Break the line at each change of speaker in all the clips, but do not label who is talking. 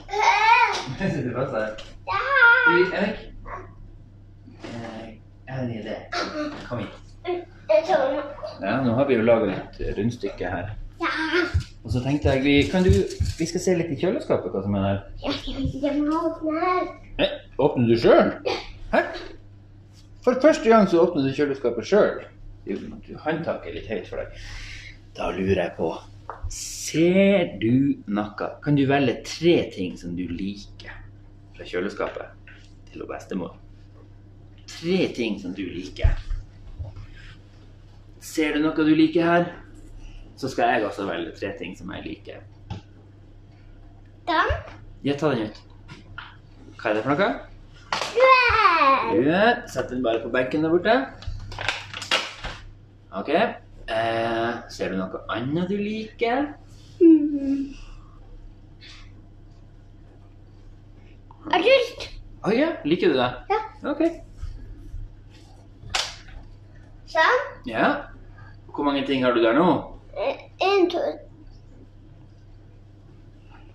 Sitter fast der. altså. Du, Erik. Eh, Jeg har en idé. Kom hit. Ja, nå har vi jo laga et rundstykke her. Og så tenkte jeg vi, kan du, vi skal se litt i kjøleskapet hva som er der. Nei, Eh, åpner du sjøl? Hæ? For første gang så åpner du kjøleskapet sjøl. Håndtaket er litt høyt for deg. Da lurer jeg på Ser du noe? Kan du velge tre ting som du liker fra kjøleskapet til hun bestemor? Tre ting som du liker. Ser du noe du liker her, så skal jeg også velge tre ting som jeg liker. Ja, ta den ut. Hva er det for noe? Ja, Sett den bare på benken der borte. OK. Eh, ser du noe annet du liker? Å ja, liker du det?
Ja.
OK. Ja. Hvor mange ting har du der nå?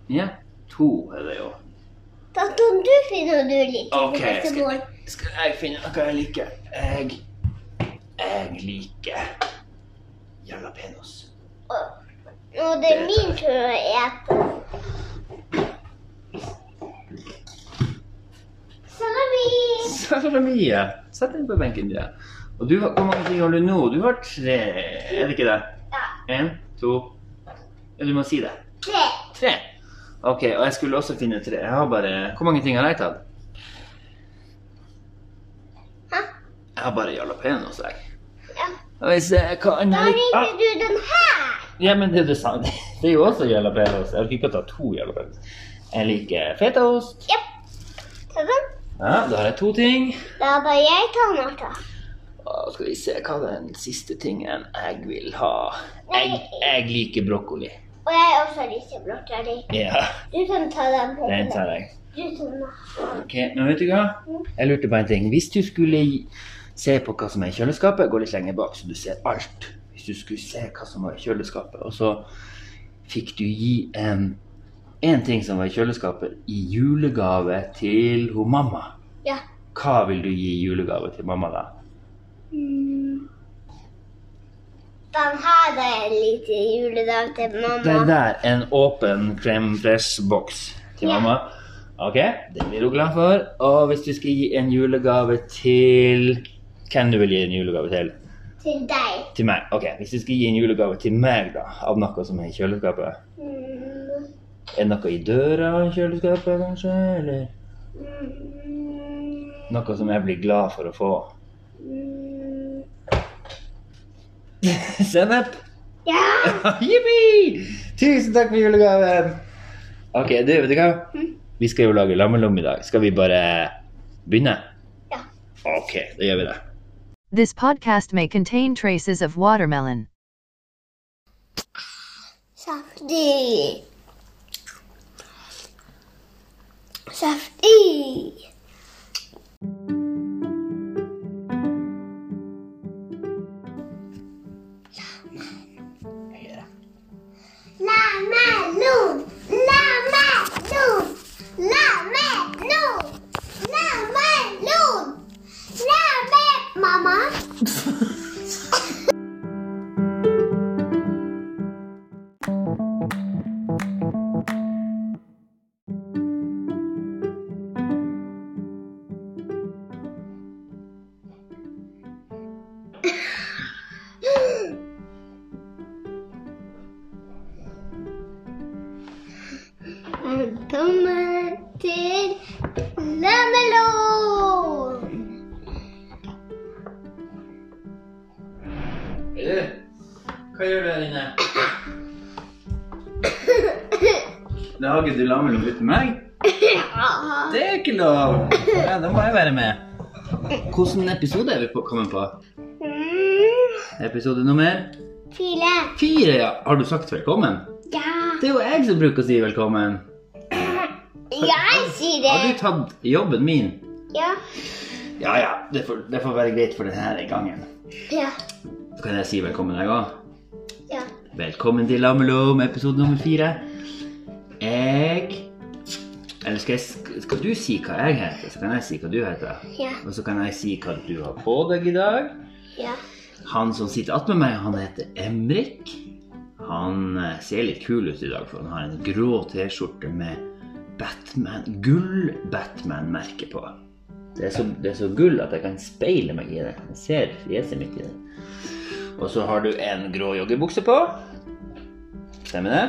Ja, to er det jo. OK, skal, skal jeg finne noe jeg liker? Jeg Jeg liker jalapeños.
Og det er min tur å ete. Sorry!
Salamie. Sett den på benken, du. Og du, har- hvor mange ting har du nå? Du har tre, er det ikke det?
Ja.
En, to Ja, du må si det.
Tre.
Tre. Ok, og jeg skulle også finne tre. Jeg har bare Hvor mange ting har jeg tatt?
Hæ?
Jeg har bare jalapeños, jeg.
Ja.
Skal vi se hva
Da
annet jeg-
liker
ah,
du den her.
Ja, men det er det samme. Det er jo også jalapeños. Jeg liker ikke å ta to jalapeños. Jeg liker fetaost.
Jepp. Ta den.
Ja, da har jeg to ting.
Da bør jeg ta den, Martha.
Og skal vi se hva er den siste tingen jeg vil ha. Jeg,
Nei.
jeg liker brokkoli.
Og jeg er også liker blått. jeg liker.
Ja,
Du kan ta den. på
den
den.
tar jeg.
Du tar den.
Ok, men vet du hva? Jeg lurte på en ting. Hvis du skulle gi- se på hva som er i kjøleskapet, gå litt lenger bak, så du ser alt. Hvis du skulle se hva som var i kjøleskapet, og så fikk du gi en, en ting som var i kjøleskapet, i julegave til hun mamma.
Ja.
Hva vil du gi i julegave til mamma da?
Mm. Den her er en liten juledag til
Den
mamma.
der, en åpen creme fraiche-boks til
Ja.
mamma. Ok, den blir hun glad for. Og hvis du skal gi en julegave til Hvem du vil gi en julegave til?
Til deg.
Til meg. Ok, Hvis du skal gi en julegave til meg, da, av noe som er i kjøleskapet
Mm.
Er det noe i døra i kjøleskapet, kanskje? Eller
Mm.
noe som jeg blir glad for å få?
Mm.
Sennep!
Ja!
Jippi! Tusen takk for julegaven! Ok, du, vet du hva?
Mm.
Vi skal jo lage lammelom i dag. Skal vi bare begynne?
Ja.
Ok, da gjør vi det.
This podcast may contain traces of watermelon.
Saftig. Saftig.
Høyere.
Lamelon. Lamelon. Lamelon. Lamelon. Lamel... Mamma. Velkommen til Lamelon.
Hei, du. Hva gjør du her inne? Lager du lammelom uten meg?
Ja.
Det er ikke lov! Ja, Da må jeg være med. Hvilken episode er vi på, kommet på?
Mm.
Episode nummer
File.
fire, ja. Har du sagt velkommen?
Ja.
Det er jo jeg som bruker å si velkommen.
Jeg sier
Har
det.
du tatt jobben min?
Ja.
Ja, ja. Det får, det får være greit for denne gangen.
Ja.
Så kan jeg si velkommen, jeg òg.
Ja.
Velkommen til Lammelom, episode nummer fire. Jeg Eller skal, jeg, sk- skal du si hva jeg heter, så kan jeg si hva du heter?
Ja.
Og så kan jeg si hva du har på deg i dag.
Ja.
Han som sitter attmed meg, han heter Emrik. Han eh, ser litt kul ut i dag, for han har en grå T-skjorte med Batman, gull-Batman-merke på. Det er, så, det er så gull at jeg kan speile meg i det. Jeg ser fjeset mitt i det. Og så har du en grå joggebukse på. Stemmer det?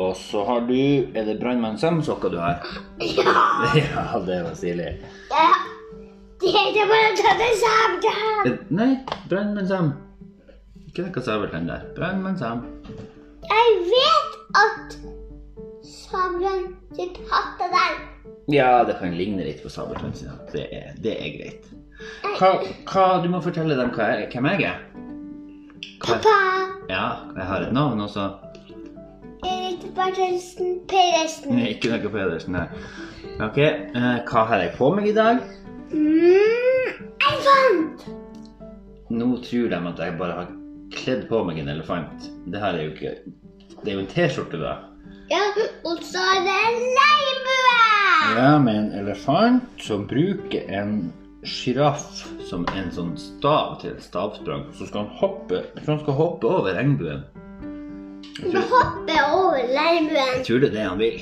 Og så har du Er det Brannmann Sam-sokker du har? Ja, det var stilig.
ja. Det heter bare å ta det sammen.
Eh, Nei, Brannmann Sam. Ikke den kasabeltann der. Brannmann Sam.
Jeg vet at sabelen sitt hatt er der.
Ja, det kan ligne litt på Sabeltann sin hatt. Det, er- det er greit. Hva, hva, du må fortelle dem hva jeg, hvem jeg er. Hva,
Pappa
ja, jeg har et navn også.
Erik Bertelsen Pedersen.
Ikke noe Pedersen her. Ok, eh, hva har jeg på meg i dag?
Mm, jeg vant!
Nå tror de at jeg bare har kledd på meg en elefant. Det har jeg jo ikke. Det er jo en T-skjorte, da.
Ja, og så er det en leirbue!
Ja, med en elefant som bruker en sjiraff som en sånn stav til et stavsprang. Så skal han hoppe, jeg tror han skal hoppe over regnbuen.
Du må hoppe over leirbuen.
Jeg tror det er det han vil,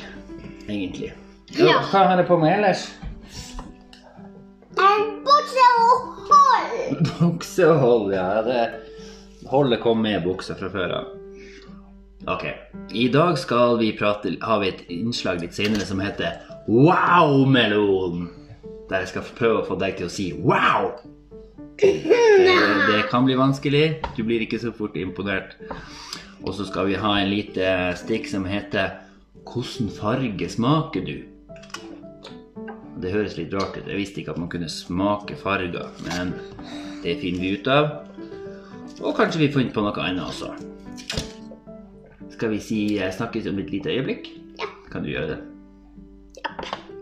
egentlig.
Ja.
Hva har jeg på meg ellers?
En bukse og hold!
Buksehold, ja. Det holdet kom med buksa fra før av. Ok. I dag skal vi prate Har vi et innslag litt senere som heter Wow-melon? Der jeg skal prøve å få deg til å si wow. Det, det kan bli vanskelig. Du blir ikke så fort imponert. Og så skal vi ha en lite stikk som heter Hvordan farge smaker du? Det høres litt rart ut. Jeg visste ikke at man kunne smake farger, men det finner vi ut av. Og kanskje vi finner på noe annet også. Skal vi si eh, snakkes om et lite øyeblikk?
Ja.
Kan du gjøre det?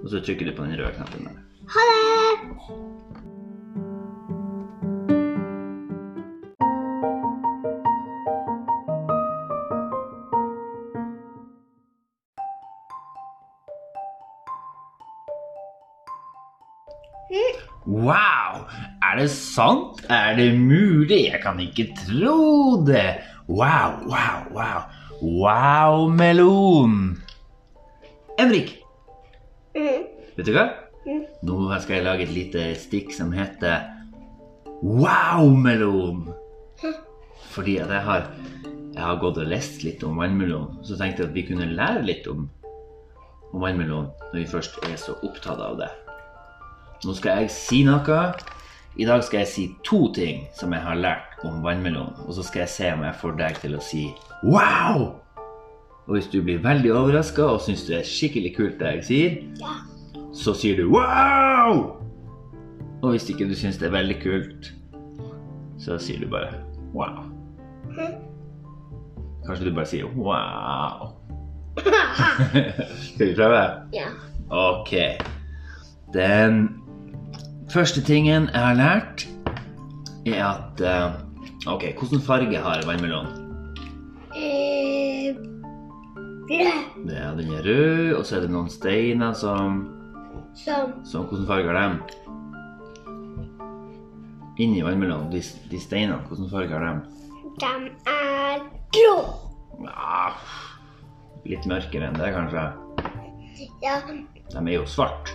Og så trykker du på den røde knappen der.
Ha det!
Wow! Er det sant? Er det mulig? Jeg kan ikke tro det! Wow, wow, wow. Wow-melon! Emrik,
Mm.
vet du hva? Nå skal jeg lage et lite stikk som heter Wow-melon. Fordi at jeg har, jeg har gått og lest litt om vannmelon, så tenkte jeg at vi kunne lære litt om, om vannmelon når vi først er så opptatt av det. Nå skal jeg si noe. I dag skal jeg si to ting som jeg har lært om vannmelon, og så skal jeg se om jeg får deg til å si wow! Og hvis du blir veldig overraska og syns det er skikkelig kult det jeg sier, så sier du wow! Og hvis ikke du syns det er veldig kult, så sier du bare wow. Kanskje du bare sier wow. Skal vi prøve?
Ja.
Ok. Den første tingen jeg har lært, er at eh, Ok, hvilken farge har vannmelon?
Eh, Blø
Det er- Den er rød, og så er det noen steiner som
som
Så hvordan farger dem? Inni vannmelonen, de, de steinene, hvordan farger dem?
den er grå.
Ja, Ah, litt mørkere enn det, kanskje.
Ja,
De er jo svart.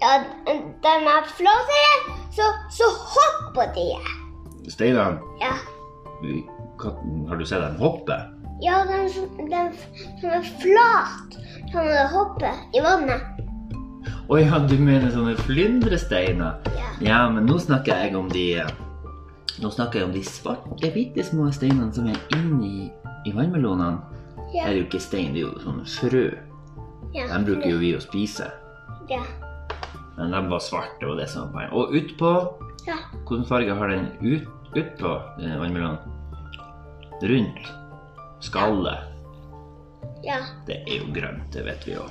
ja den er flottere, så, så hopp på det.
Steinene,
Ja,
du- hva- har du sett dem hoppe?
ja den, som- den som er flat, som er hoppe i vannet.
Å ja, du mener sånne flyndresteiner?
Ja.
Ja, men nå snakker jeg om de Nå snakker jeg om de svarte, bitte små steinene som er inni i vannmelonene. Det
Ja,
er jo ikke stein, det er jo sånne frø.
ja.
Dem bruker jo vi å spise.
Ja,
Men den var svart, det var det som var poenget. Og utpå
ja.
Hvilken farge har den ut, utpå eh, vannmelonen? Rundt skallet.
Ja,
Det er jo grønt, det vet vi jo.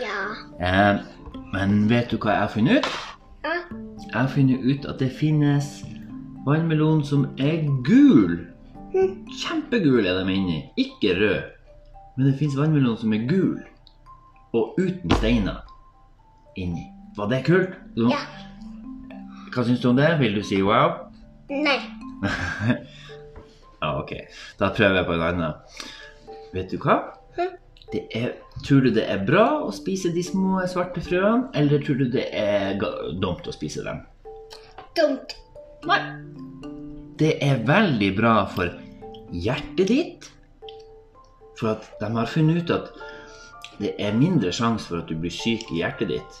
ja.
Eh, men vet du hva jeg har funnet ut?
Ja,
Jeg har funnet ut at det finnes Hm, vannmelon som er gul. Kjempegul er de inni, ikke rød. Men det fins vannmelon som er gul og uten steiner inni. Var det kult? Så-
Ja.
Hva syns du om det? Vil du si wow?
Nei.
Ja, ok. Da prøver jeg på en annen. Vet du hva?
Hm?
Det er, tror du det er bra å spise de små svarte frøene, eller tror du det er ga- dumt å spise dem?
Dumt.
Nei. Det er veldig bra for hjertet ditt. For at de har funnet ut at det er mindre sjanse for at du blir syk i hjertet ditt,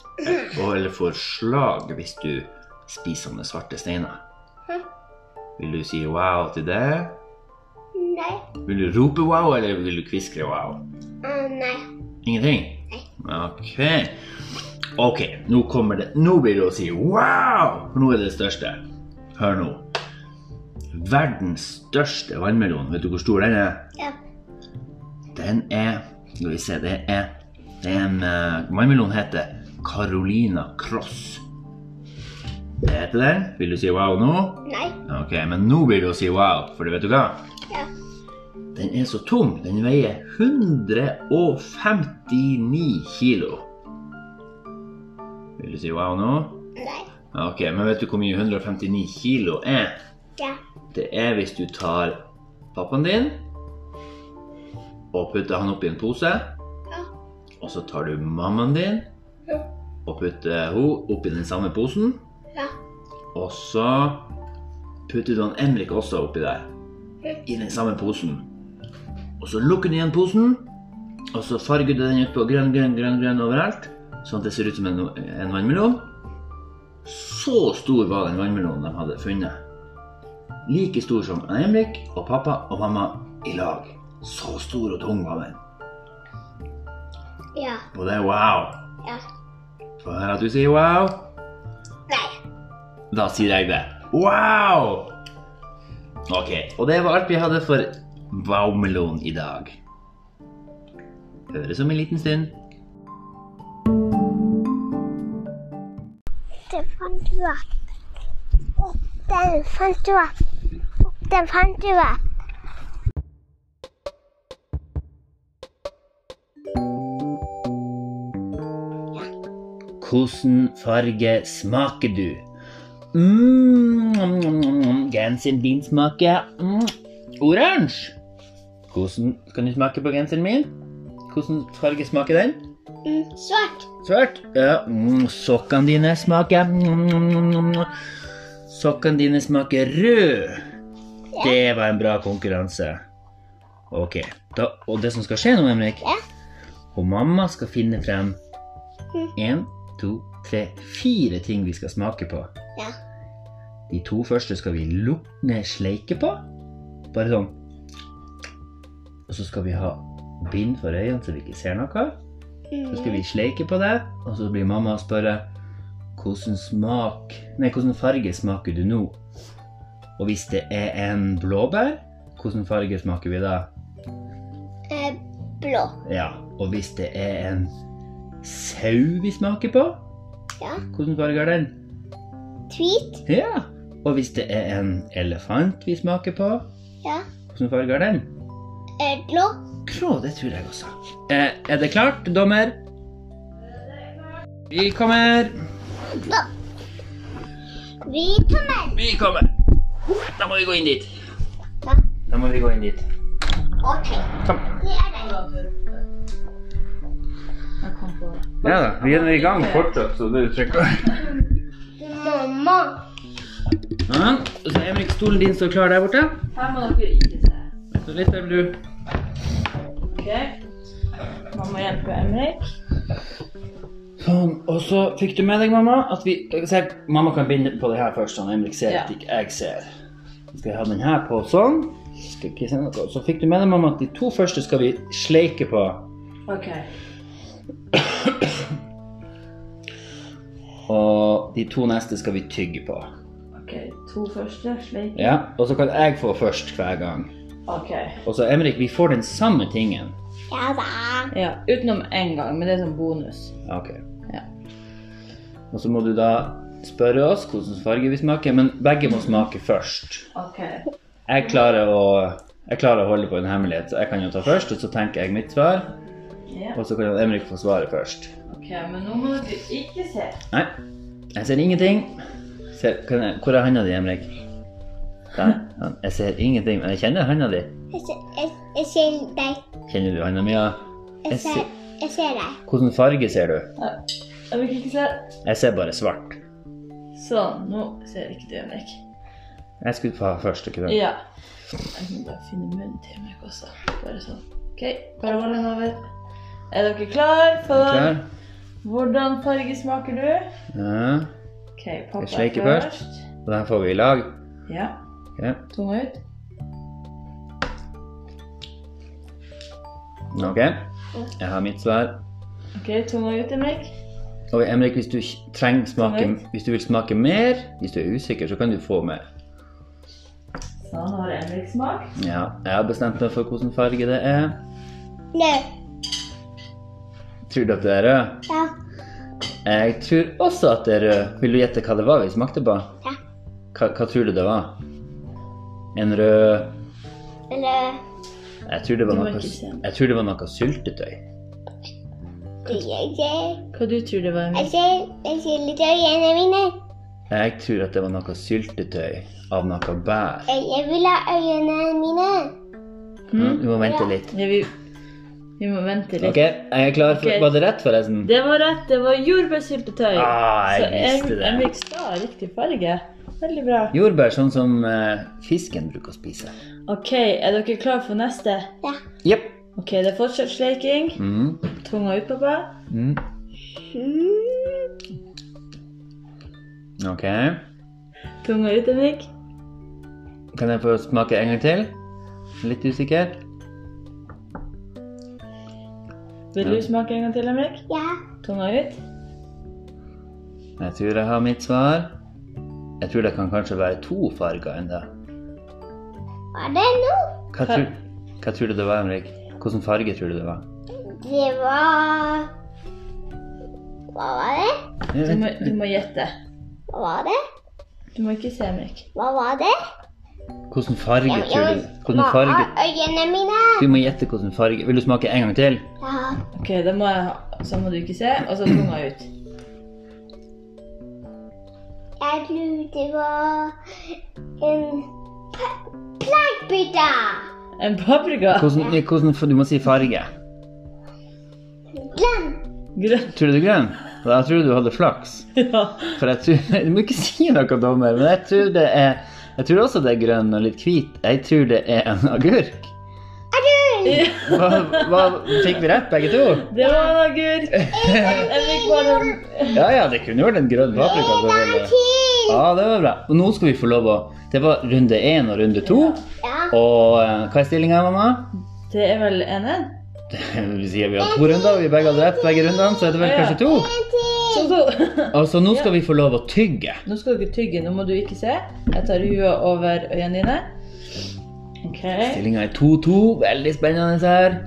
og eller får slag hvis du spiser sånne svarte steiner.
Hm.
Vil du si wow til det?
Nei.
Vil du rope wow, eller vil du kviskre wow?
Eh, nei.
Ingenting? Ok. Ok, nå kommer det Nå blir det å si wow! For nå er det det største. Hør nå. Verdens største vannmelon. Vet du hvor stor den er?
Ja.
Den er Skal vi se, det er det er en eh, vannmelon heter Carolina Cross. Det heter den. Vil du si wow nå?
Nei.
Ok, men nå blir det å si wow, for vet du hva?
Ja.
Den er så tung. Den veier 159 kilo. Vil du si wow nå?
Nei.
Ok, men vet du hvor mye 159 kilo er?
Ja.
Det er hvis du tar pappaen din og putter han oppi en pose.
Ja.
Og så tar du mammaen din
Ja.
og putter hun oppi den samme posen.
Ja.
Og så putter du han Emrik også oppi der. I den samme posen. Og så lukker du igjen posen, og så farger du den ut på grønn, grønn, grønn, grønn overalt. Sånn at det ser ut som en, en vannmelon. Så stor var den vannmelonen de hadde funnet. Like stor som Emrik og pappa og mamma i lag. Så stor og tung var den.
Ja.
Og det er wow.
Ja.
Får jeg høre at du sier wow?
Nei.
Da sier jeg det. Wow! Ok, og det var alt vi hadde for Wow-melon i dag. Høres om en liten stund.
Den fant du opp. Opp, Den fant du opp. Opp, Den fant du opp.
Hvordan farge smaker du? Mm, mm, mm, mm, genseren din smaker mm, oransje. Hvordan kan du smake på genseren min? Hvordan farge smaker den?
Mm, svart.
Svart. Ja. Mm, sokkene dine smaker mm, mm, mm, mm. Sokkene dine smaker rød. Det var en bra konkurranse. Ok. Da, og det som skal skje nå, Emrik
Ja.
Og mamma skal finne frem
Mm.
én, to, tre, fire ting vi skal smake på.
Ja.
De to første skal vi lukke sleike på. Bare sånn. Og så skal vi ha bind for øynene så vi ikke ser noe. Så
Mm,
skal vi sleike på det, og så blir mamma og spørre hvordan smak Nei, hvordan farge smaker du nå? Og hvis det er en blåbær, hvordan farge smaker vi da?
Eh, blå.
Ja. Og hvis det er en sau vi smaker på,
Ja.
hvordan farge er den?
Hvit.
Ja. Og hvis det er en elefant vi smaker på,
Ja.
hvordan farge er den?
Eh, blå.
Grå, det tror jeg også. Eh, er det klart, dommer? Vi kommer.
Hvit og mørk.
Vi kommer. Da må vi gå inn dit.
Ja.
Da må vi gå inn dit.
Ok.
Kom.
Det er den.
Ja da, vi er i gang fortsatt, så du trykker.
Mamma.
Sånn. Og så Emrik, stolen din står klar der borte.
Her må dere ikke se.
Så litt der vil du.
Ok? Mamma hjelper Emrik.
Sånn, og så fikk du med deg, mamma, at vi se, Mamma kan binde på det her først, sånn Emrik ser
Ja.
at ikke jeg ser. Så skal jeg ha den her på sånn. Skal ikke se noe. Så fikk du med deg, mamma, at de to første skal vi sleike på.
Ok.
Og de to neste skal vi tygge på.
Ok, to første, slik.
Ja, Og så kan jeg få først hver gang.
Ok.
Og så Emrik, vi får den samme tingen.
Ja da.
Ja, utenom en gang, men det er som bonus.
Ok.
Ja.
Og så må du da spørre oss hvordan farge vi smaker, men begge må smake først.
Ok.
Jeg klarer å Jeg klarer å holde på en hemmelighet, så jeg kan jo ta først, og så tenker jeg mitt svar.
Ja,
Og så kan Emrik få svaret først.
ok, men nå må du ikke se.
Nei, jeg ser ingenting. Ser, kan jeg, hvor er handa di, Emrik? Der. ja, Jeg ser ingenting, men jeg kjenner handa di.
Jeg ser, jeg, jeg ser deg.
Kjenner du handa mi? ja?
Jeg
Jeg
ser,
ser-
jeg ser deg.
Hvilken farge ser du?
Ja, Jeg vil ikke se.
Jeg ser bare svart.
Sånn, nå ser jeg ikke det, Henrik.
Jeg skulle ta først, ikke sant?
Ja. Jeg må bare finne munnen til meg også. Bare sånn. Ok, bare hold den over. Er dere klar for
Klar?
Hvordan farge smaker du?
Ja.
Ok, pappa
Jeg sleiker først. Og den får vi i lag.
Ja,
Ok.
tunga ut.
Ok, jeg har mitt svar.
Ok, tunga ut, Henrik.
Og Emrik, hvis du k- trenger smake,
Henrik?
hvis du vil smake mer, hvis du er usikker, så kan du få mer.
Sånn har Henrik smakt.
Ja, jeg har bestemt meg for hvilken farge det er.
Nei.
Tror du at det er rød?
Ja.
Jeg tror også at det er rød. Vil du gjette hva det var vi smakte på?
Ja.
Hva, hva tror du det var? En rød
Eller
Jeg tror det var
Det var
noe,
ikke sen.
jeg tror det var noe syltetøy.
jeg ser,
Hva du tror det var,
jeg ser, jeg ser litt øynene mine.
Jeg tror at det var noe syltetøy av noe bær.
Jeg, jeg vil ha øynene mine.
Mm, du må vente
Ja.
litt.
Mhm. Ja, vi, vi må vente litt.
Ok, jeg er klar. For,
Ok.
Var det rett, forresten?
Det var rett, det var jordbærsyltetøy.
Ah, jeg
Så Hen-
visste det.
Henrik sa riktig farge. Veldig bra.
Jordbær, sånn som eh, fisken bruker å spise.
Ok, er dere klar for neste?
Ja.
Jepp.
Ok, det er fortsatt sleiking.
Mm.
Tunga ut, pappa.
Mm. Hmm.
Mm.
Ok.
Tunga ut, Henrik.
Kan jeg få smake en gang til? Litt usikker.
Vil du smake en gang til, Henrik?
Ja.
Tunga ut.
Jeg tror jeg har mitt svar. Jeg tror det kan kanskje være to farger enda.
Var det nå?
Hva, tror, hva tror du det var, Henrik? Hvilken farge tror du det var?
Det var Hva var det?
Jeg
Du
vet
må,
ikke.
du må gjette.
Hva var det?
Du må ikke se, Henrik.
Hva var det?
Hvilken farge
Jeg-
tror du?
jeg-
Hvilken
hva
farge?
er øynene mine?
Du må gjette hvilken farge. Vil du smake en gang til?
Ja.
Ok, da må jeg ha... Så må du ikke se, og så tunga ut.
Jeg tror det var en p- plankebite.
En paprika.
Hvordan, hvordan, du må si farge.
Grønn.
Grønn.
Tror du det er grønn? Da tror du du hadde flaks.
Ja.
For jeg tror, Du må ikke si noe, dommer, men jeg tror det er Jeg tror også det er grønn og litt hvit. Jeg tror det er en agurk. Hva, hva Fikk vi rett, begge to?
Det var en agurk. Henrik var den...
Ja ja, det kunne vært en grønn paprika.
En
selvfølgelig.
til.
Ja, det var bra. Og nå skal vi få lov å Det var runde én og runde to.
Ja.
Og eh, hva er stillinga, mamma?
Det er vel en en?
Vi sier vi har to runder, og vi begge hadde rett begge rundene, så er det vel kanskje to.
En til.
Så to.
Og så nå skal vi få lov å tygge.
Nå skal dere tygge. Nå må du ikke se. Jeg tar huet over øynene dine. Ok.
Stillinga er 2-2. Veldig spennende her.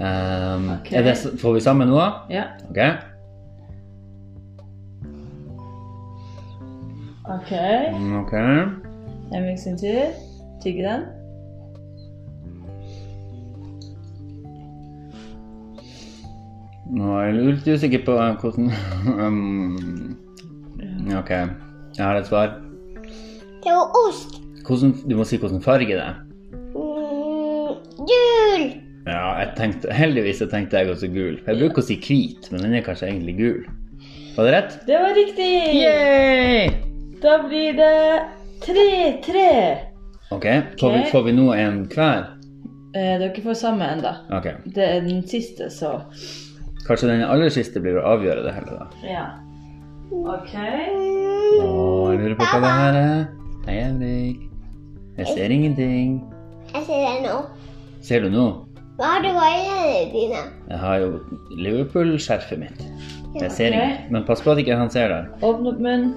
Um,
Ok.
er det, s- får vi sammen nå?
Ja.
Ok.
Ok.
Mm, Ok.
Henrik sin tur. Tygge den.
Nå er jeg litt usikker på eh, hvordan um, Ok. Jeg har et svar.
Det var ost.
Hvordan, du må si hvilken farge det er.
Mm, gul.
Ja, jeg tenkte, Heldigvis så tenkte jeg også gul. Jeg bruker å si hvit, men den er kanskje egentlig gul. Var det rett?
Det var riktig!
Yay!
Da blir det tre-tre.
Ok, får vi,
Ok.
får vi nå en hver?
Eh, dere får samme enda.
Ok.
Det er den siste, så
Kanskje den aller siste blir å avgjøre det hele, da.
Ja. OK.
Mm,
Åh, jeg lurer på hva det her er. Hei, Henrik. Jeg ser ingenting.
jeg ser det nå.
Ser du nå?
Hva har du i øynene dine?
Jeg har jo Liverpool-skjerfet mitt. Jeg ser
Ok.
ingen. Men pass på at ikke han ser der.
Åpne opp munnen.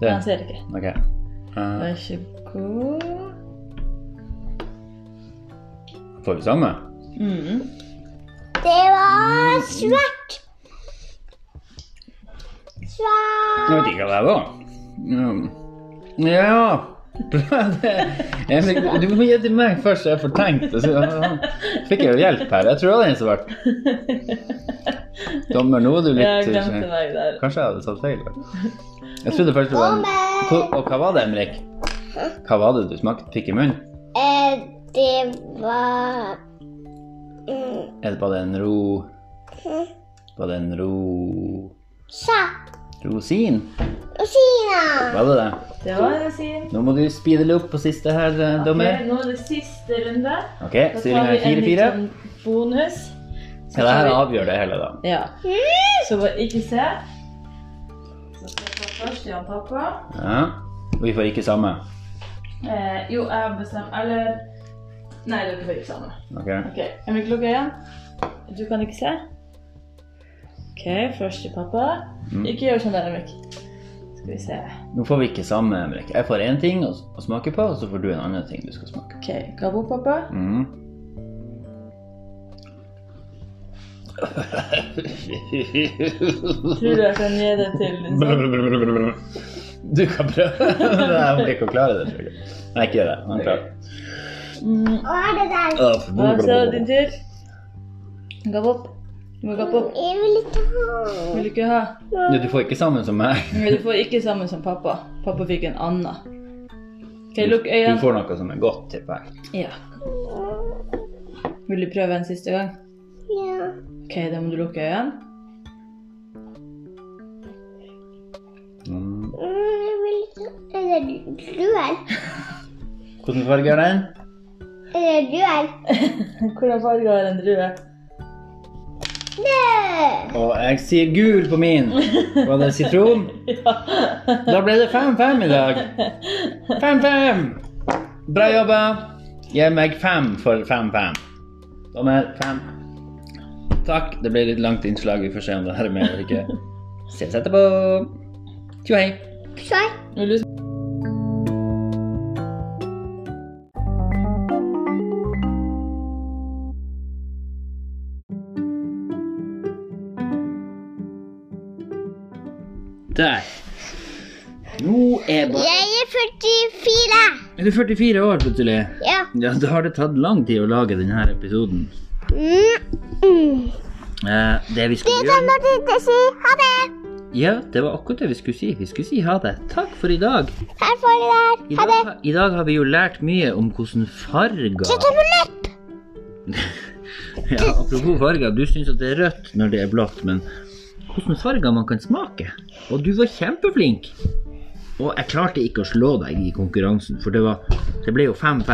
Du.
Han ser ikke.
Ok. Eh,
Vær så god.
får vi samme?
Mm.
Det var svart.
Jeg
Svart.
vet ikke hva det var. Mm. Ja. ja. Emil, du må gi det til meg først, så jeg får tenkt. og så- Fikk jeg jo hjelp her. Jeg tror det var den som ble dommer. Nå er du
Jeg
litt
glemte meg der.
Kanskje jeg hadde tatt feil. da. Jeg trodde først det var en Hva- Og hva var det, Emrik? Hva var det du smakte? Pikk i munnen?
Eh, det var mm,
Er det bare en ro Var det en ro
Sapp
rosin?
og Sina.
Var det det?
Det var det jeg sier.
Nå må du speede litt opp på siste her, eh, dommer.
Ok, nå er det siste runde.
Ok,
Da tar
stillinga
vi
er 4-4.
en liten bonus. Så
Ja, det her
tar vi-
avgjør det hele, da.
Ja. Så bare ikke se. Så skal jeg ta først Jan pappa.
Ja. Og vi får ikke samme.
Eh, jo, jeg har bestemt Eller Nei, dere får ikke sammen.
Ok.
Ok, er min klokka igjen? Du kan ikke se? Ok, først til pappa.
Mm.
Ikke gjør sånn der, Emrik. Skal vi se.
Nå får vi ikke samme, Henrik. Jeg får én ting å s- å smake på, og så får du en annen ting du skal smake på.
Ok, Gabo, pappa.
Mm.
Tror du jeg kan gi det til din sønn?
Du kan prøve. Jeg blir ikke å klare det, tror jeg. Nei, ikke gjør det. Han klarer det.
Mm.
Og er det der?
Da er det din tur. Gabo. Du må gape opp.
Jeg vil ikke ha.
Vil du ikke ha?
Ja, du får ikke sammen som meg.
Nei, Du får ikke sammen som pappa. Pappa fikk en annen. Ok, lukk
Du
øynene.
får noe som er godt, tipper jeg.
Ja. Vil du prøve en siste gang?
Ja.
Ok, da må du lukke øynene.
Mm.
Mm, jeg vil ikke Er det duell?
Hvilken farge er den?
Er det duell?
Hvordan farge har en drue?
Nei!
Og jeg sier gul på min. Var det sitron? Da ble det 5-5 i dag. 5-5. Bra jobba. Gi meg 5 for 5-5. Dommer 5. Takk. Det ble litt langt innslag. Vi får se om det her er med eller ikke. Ses etterpå. Tjo hei.
Sorry.
Vil du
Der. Nå er bare
Jeg er 44.
Er du 44 år plutselig?
Ja.
Ja, da har det tatt lang tid å lage denne episoden.
Mm. Mm.
Eh, det vi
Det
skulle gjøre
kan du ikke si. Ha det.
Ja, det var akkurat det vi skulle si. Vi skulle si ha det. Takk for i dag.
Her får du der.
I
Ha det.
dag, I dag har vi jo lært mye om hvordan farger
Ikke ta med nøtt.
ja, Apropos farger, du syns at det er rødt når det er blått, men hvordan farger man kan smake. Og du var kjempeflink. Og jeg klarte ikke å slå deg i konkurransen, for det, var, det ble jo 5-5.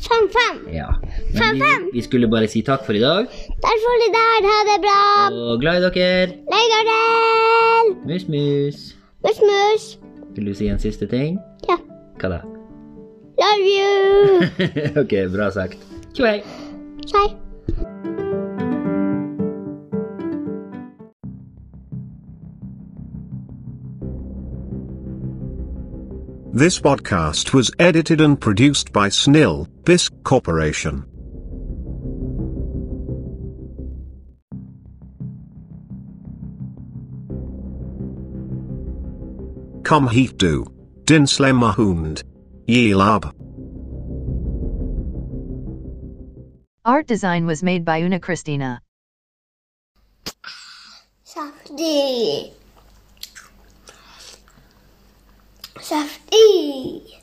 Fem, fem.
Ja. Men vi, vi skulle bare si takk for i dag,
Der får du der. Ha det bra.
og glad i dere.
Leidardel.
Mus, mus.
Mus, mus.
Vil du si en siste ting?
Ja.
Hva da?
Love you.
ok, bra sagt. Tjo hei.
Sorry.
This podcast was edited and produced by Snill, Bisc Corporation. Kom hit du. Din slemme hund. Yelab.
Art design was made by Una Christina.
Saftig. Saftig.